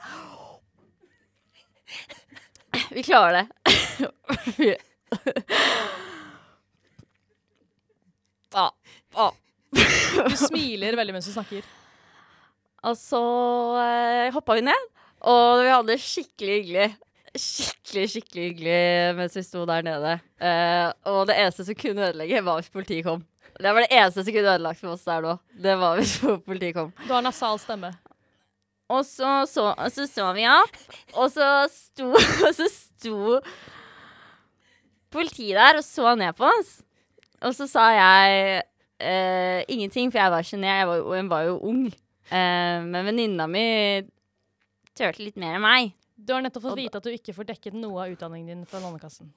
Vi klarer det. Vi- Ja. ja.
Du smiler veldig mens du snakker.
Og så eh, hoppa vi ned, og vi hadde det skikkelig hyggelig. Skikkelig, skikkelig hyggelig mens vi sto der nede. Eh, og det eneste som kunne ødelegge, var hvis politiet kom. Det var det eneste som kunne ødelagt for oss der nå. Det var hvis politiet kom.
Du har nasal stemme.
Og så så, og så, så vi opp, og så sto, og så sto politiet der og så ned på oss. Og så sa jeg eh, ingenting, for jeg var sjenert. Jeg var, jo- jeg var jo ung. Eh, men venninna mi turte litt mer enn meg.
Du har nettopp
Og
fått
da-
vite at du ikke får dekket noe av utdanningen din fra Lånekassen.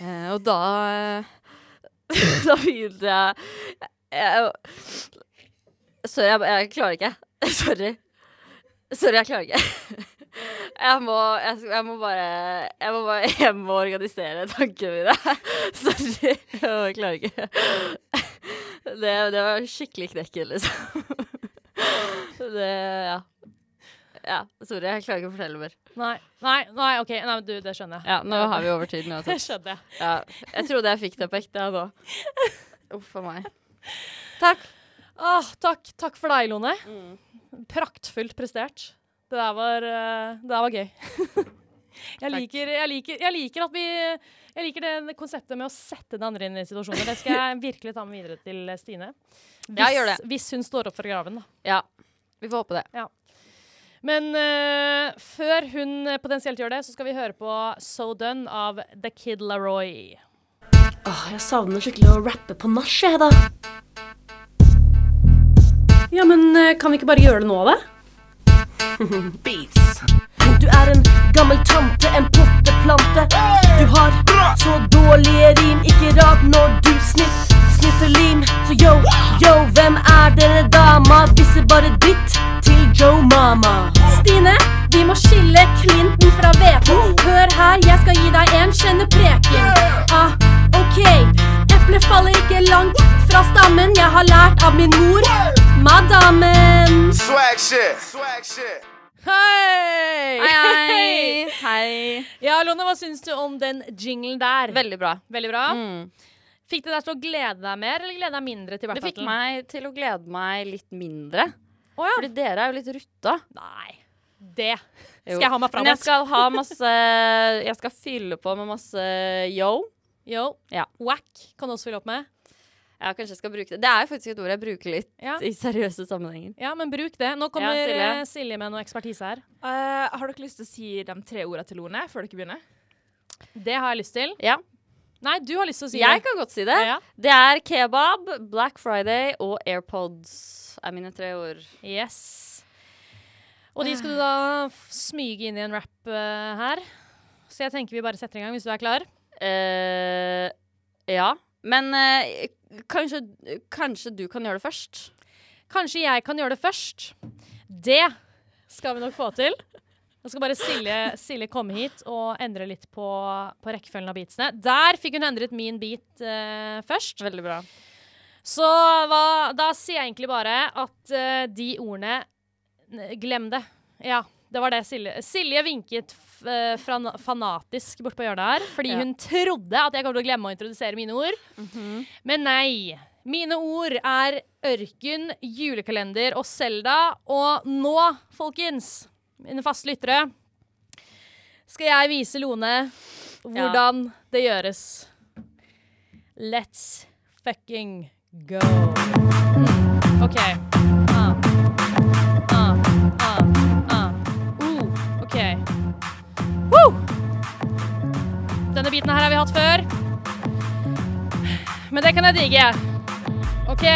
Eh, og da eh, Da begynte jeg, jeg, Sorry, jeg, jeg klarer ikke. Sorry. Sorry, jeg klarer ikke. Jeg må, jeg, skal- jeg må bare Jeg må bare jeg må organisere tankene mine. Sorry. Jeg bare klarer ikke. Det, det var skikkelig knekken, liksom. Det Ja. Ja, Sorry, jeg klarer ikke å fortelle mer.
Nei, nei, nei, ok. Nei, men du, det skjønner jeg.
Ja, Nå har vi overtid nå.
Det skjønner jeg.
Ja, jeg trodde jeg fikk det på ekte, jeg nå. Uff a meg. Takk.
Åh, Ah, takk, takk for deg, Lone.
Mm.
Praktfullt prestert. Det der var, eh, det der var gøy. Jeg liker, jeg, liker, jeg liker at vi Jeg liker det konseptet med å sette den andre inn i situasjoner. Det skal jeg virkelig ta med videre til eh, Stine. Hvis,
Ja, gjør det.
hvis hun står opp for graven, da.
Ja, vi får håpe det.
Men eh, før hun potensielt gjør det, så skal vi høre på So Done av The Kid Laroi.
Åh, jeg savner skikkelig å rappe på nach, jeg, da. Ja, men eh, kan vi ikke bare gjøre det nå, da? Beats. Du er en gammel tante, en potteplante. Du har så dårlige rim, ikke rart når du sniff, sniffer lim. Så yo, yo, hvem er dere dama? Visser bare dritt til Joe Mama.
Stine, vi må skille Clinton fra hveten. Hør her, jeg skal gi deg en kjennepreken. Ah, ok. Eplet faller ikke langt fra stammen. Jeg har lært av min mor, madammen.
Swag shit. Swag shit.
Hei!
Hei, hei. hei.
Ja, Lone, hva syns du om den jinglen der?
Veldig bra.
Veldig bra.
Mm.
Fikk det deg til å glede deg mer, eller glede deg mindre til
Det fikk
Backbattle?
meg til å glede meg litt mindre.
Å ja.
Fordi dere er jo litt rutta.
Nei. Det
Jo.
skal jeg ha meg
Men
framover.
jeg skal ha masse Jeg skal fylle på med masse yo.
Yo.
Ja.
Whack kan du også fylle opp med.
Ja, kanskje jeg skal bruke det. Det er jo faktisk et ord jeg bruker litt
Ja.
i seriøse sammenhenger.
ja, men bruk det. Nå kommer
Ja, Silje.
eh, Silje med noe ekspertise her.
Eh, har dere lyst til å si de tre ordene til Lone før dere begynner?
Det har jeg lyst til.
Ja.
Nei, du har lyst til å si
Jeg
det.
kan godt si det.
Ja.
Det er kebab, Black Friday og AirPods er mine tre ord.
Yes. Og de skal du da f- smyge inn i en rap eh, her. Så jeg tenker vi bare setter i gang, hvis du er klar.
Eh, ja. Men eh, kanskje, kanskje du kan gjøre det først?
Kanskje jeg kan gjøre det først. Det skal vi nok få til. Nå skal bare Silje, Silje komme hit og endre litt på, på rekkefølgen av beatsene. Der fikk hun endret min beat eh, først.
Veldig bra.
Så hva, da sier jeg egentlig bare at eh, de ordene n- Glem det. Ja, det var det Silje Silje vinket f, eh, fran- fanatisk bort på hjørnet her, fordi
Ja.
hun trodde at jeg kom til å glemme å introdusere mine ord. Men nei. Mine ord er ørken, julekalender og Selda. Og nå, folkens, mine faste lyttere, skal jeg vise Lone hvordan det gjøres. Let's fucking go. Mm. OK. Ah. Ah. Ah. Ah. Uh. OK. Woo! Denne biten her har vi hatt før. Men det kan jeg digge. OK.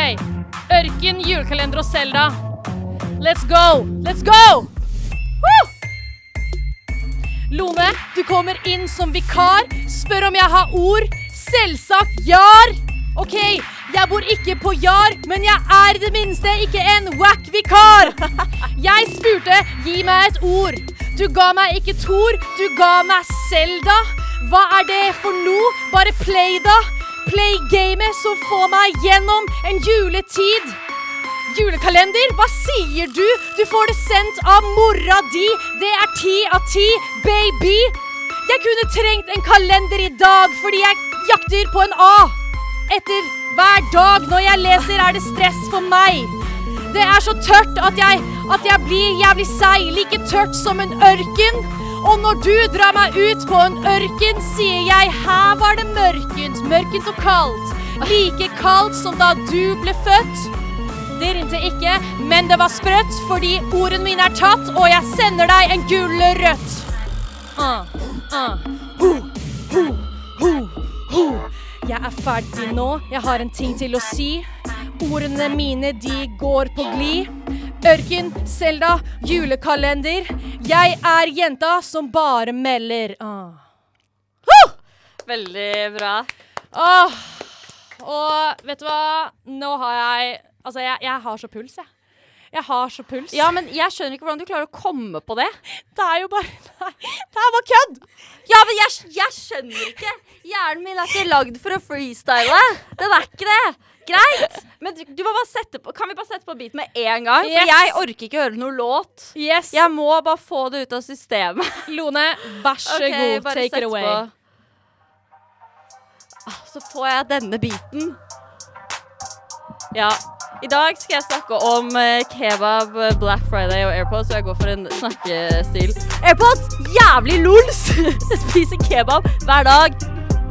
Ørken, julekalender og Selda. Let's go! Let's go! Woo! Lone, du kommer inn som vikar. Spør om jeg har ord. Selvsagt jar. OK, jeg bor ikke på Jar, men jeg er i det minste ikke en wack vikar. Jeg spurte gi meg et ord. Du ga meg ikke Tor, du ga meg Selda. Hva er det for noe? Bare play, da. Play gamet som får meg gjennom en juletid. Julekalender, hva sier du? Du får det sendt av mora di. Det er ti av ti, baby. Jeg kunne trengt en kalender i dag fordi jeg jakter på en A. Etter hver dag når jeg leser, er det stress for meg. Det er så tørt at jeg, at jeg blir jævlig seig. Like tørt som en ørken. Og når du drar meg ut på en ørken, sier jeg her var det mørkent. Mørkent og kaldt. Like kaldt som da du ble født. Det rimte ikke, men det var sprøtt, fordi ordene mine er tatt, og jeg sender deg en gulrøtt. Ah, ah. Ho, ho, ho, ho. Jeg er ferdig nå, jeg har en ting til å si. Ordene mine, de går på glid. Ørken, Selda, julekalender. Jeg er jenta som bare melder. Ah.
Veldig bra.
Åh. Ah. Og vet du hva? Nå har jeg Altså, jeg, jeg har så puls, jeg. Jeg har så puls.
Ja, men jeg skjønner ikke hvordan du klarer å komme på det.
Det er jo bare Nei, det er bare kødd!
Ja, men jeg, jeg skjønner ikke. Hjernen min er ikke lagd for å freestyle. Den er ikke det. Greit. Men du, du må bare sette på, kan vi bare sette på beat med en gang?
Yes.
For jeg orker ikke høre noe låt.
Yes.
Jeg må bare få det ut av systemet.
Lone, vær så
Ok,
god.
bare
Take it
sett
away.
på. Ah, Så får jeg denne biten. Ja. I dag skal jeg snakke om eh, kebab, eh, Black Friday og AirPods, og jeg går for en snakkestil. AirPods, jævlig lols! Jeg Spiser kebab hver dag.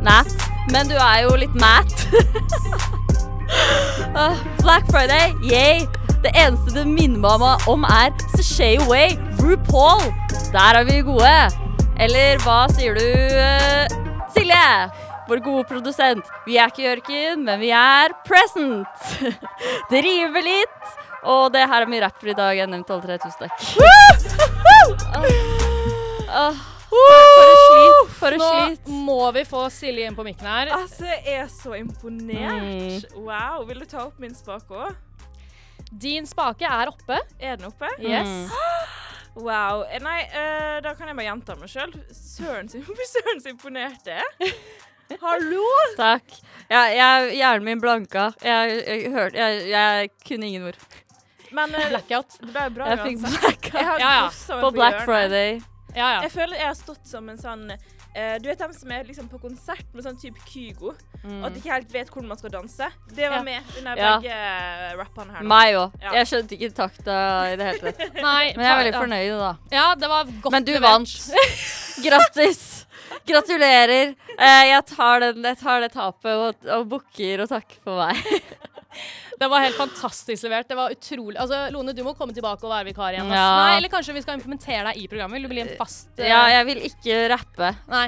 Nat. Men du er jo litt mat. Ah, Black Friday, yay! Det eneste det minner meg om er Sashay Way, RuPaul. Der er vi gode. Eller hva sier du, eh, Silje? Vår gode produsent. Vi er ikke Jørken, men vi er present. det river litt. Og det her er mye rap for i dag. Jeg har nevnt alle tre. Tusen takk. Ah, ah, for et slit. For et
Nå
slit. Ah.
må vi få Silje inn på mikken her.
Altså, jeg er så imponert. Wow. Vil du ta opp min spak òg?
Din spake er oppe.
Er den oppe?
Yes.
Mm.
Wow. Eh, Nei, eh, da kan jeg bare gjenta meg sjøl. Søren så søren så imponert jeg er. Hallo!
Takk. Jeg, jeg, hjernen min blanka. Jeg, jeg, hørte- jeg, jeg kunne ingen ord.
Men eh,
Blackout.
det ble bra
Jeg fikk
uansett.
blackout.
Jeg har
Ja, ja.
koset meg
på Black
hjørnet.
Friday.
Ja, ja.
Jeg føler jeg har stått som en sånn eh, Du vet dem som er liksom på konsert med sånn type Kygo, og at de ikke helt vet hvordan man skal danse? Det var
Ja.
med under
Mm. Ja.
begge rappene her. nå.
Meg òg.
Ja.
Jeg skjønte ikke takta i det hele tatt.
Nei,
Men jeg er veldig
ja.
fornøyd, da.
Ja, det var godt
Men du
levert.
vant. Grattis. Gratulerer. Eh, Jeg tar, den, jeg tar det tapet og, og bukker og takker for meg.
Det var helt fantastisk levert. Det var utrolig Altså, Lone, du må komme tilbake og være vikar igjen. ass.
Ja.
Nei, eller kanskje vi skal implementere deg i programmet? Vil du bli en fast eh,
Ja, jeg vil ikke rappe.
Nei.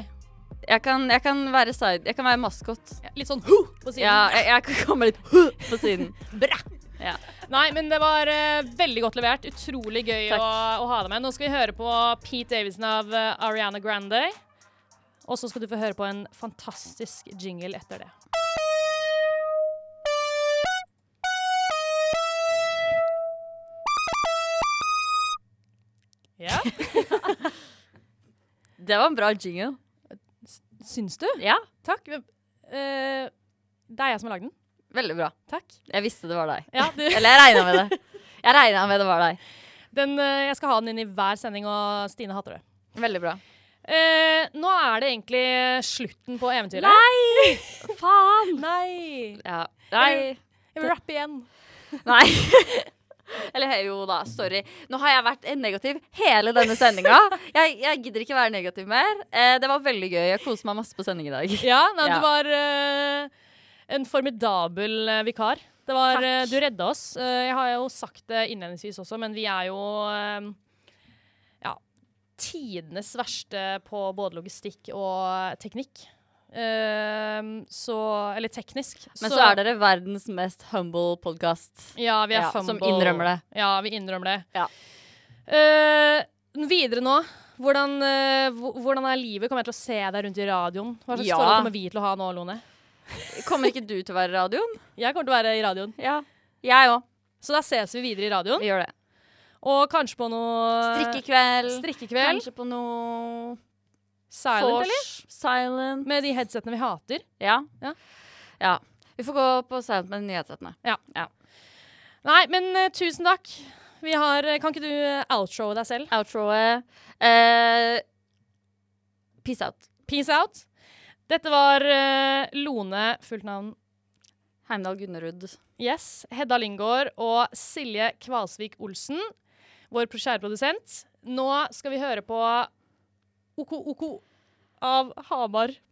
Jeg kan, jeg kan være side... Jeg kan være maskot.
Litt sånn hu på siden.
Ja, jeg, jeg kan komme litt på siden.
Bra.
Ja.
Nei, men det var eh, veldig godt levert. Utrolig gøy å,
Takk.
å ha deg med. Nå skal vi høre på Pete Davidson av eh, Ariana Grande. Og så skal du få høre på en fantastisk jingle etter det. Ja,
Det var en bra jingle.
syns du?
Ja,
Takk. Hvem- eh, det er jeg som har lagd den.
veldig bra.
Takk.
Jeg visste det var deg.
Ja, du,
Eller jeg regna med det. Jeg regna med det var deg.
den, eh, jeg skal ha den inn i hver sending, og Stine hater det.
Veldig bra.
Eh, nå er det egentlig slutten på eventyret.
Nei! Faen!
Nei!
Ja. Nei.
Jeg vil rappe igjen.
Nei. Eller hei, jo da, sorry. Nå har jeg vært negativ hele denne sendinga. Jeg, jeg gidder ikke være negativ mer. Eh, det var veldig gøy. Jeg koste meg masse på sending i dag.
Ja, nei,
Ja.
du var eh, en formidabel eh, vikar. Det var, eh, du redda oss. Eh, jeg har jo sagt det innledningsvis også, men vi er jo eh, ja, tidenes verste på både logistikk og teknikk. Ehm, så Eller teknisk.
Men så er dere verdens mest humble podkast.
ja, vi er
ja, som
fumble.
innrømmer det.
Ja, vi innrømmer det.
Ja.
Eh, videre nå. Hvordan, eh, hvor- hvordan er livet? Kommer jeg til å se deg rundt i radioen? Hva slags
Ja.
forhold kommer vi til å ha nå, Lone?
Kommer ikke du til å være i radioen?
Jeg kommer til å være i radioen.
Ja. Jeg òg.
Så da ses vi videre i radioen.
Vi gjør det.
Og kanskje på noe
Eh, Strikkekveld.
strikkekveld.
Kanskje på noe
Silent,
vors,
eller?
Silent.
Med de headsetene vi hater.
Ja.
Ja.
Ja. Vi får gå på silent med nyhetssettene.
Nei, men eh, tusen takk. Vi har, kan ikke du eh, outroe deg selv?
Outroet. Eh, peace out.
Peace out. Dette var eh, Lone, fullt navn
Heimdal Gunnerud.
Yes, Hedda Lyngård og Silje Kvalsvik Olsen, vår kjære produsent. Nå skal vi høre på OKOK av Hamar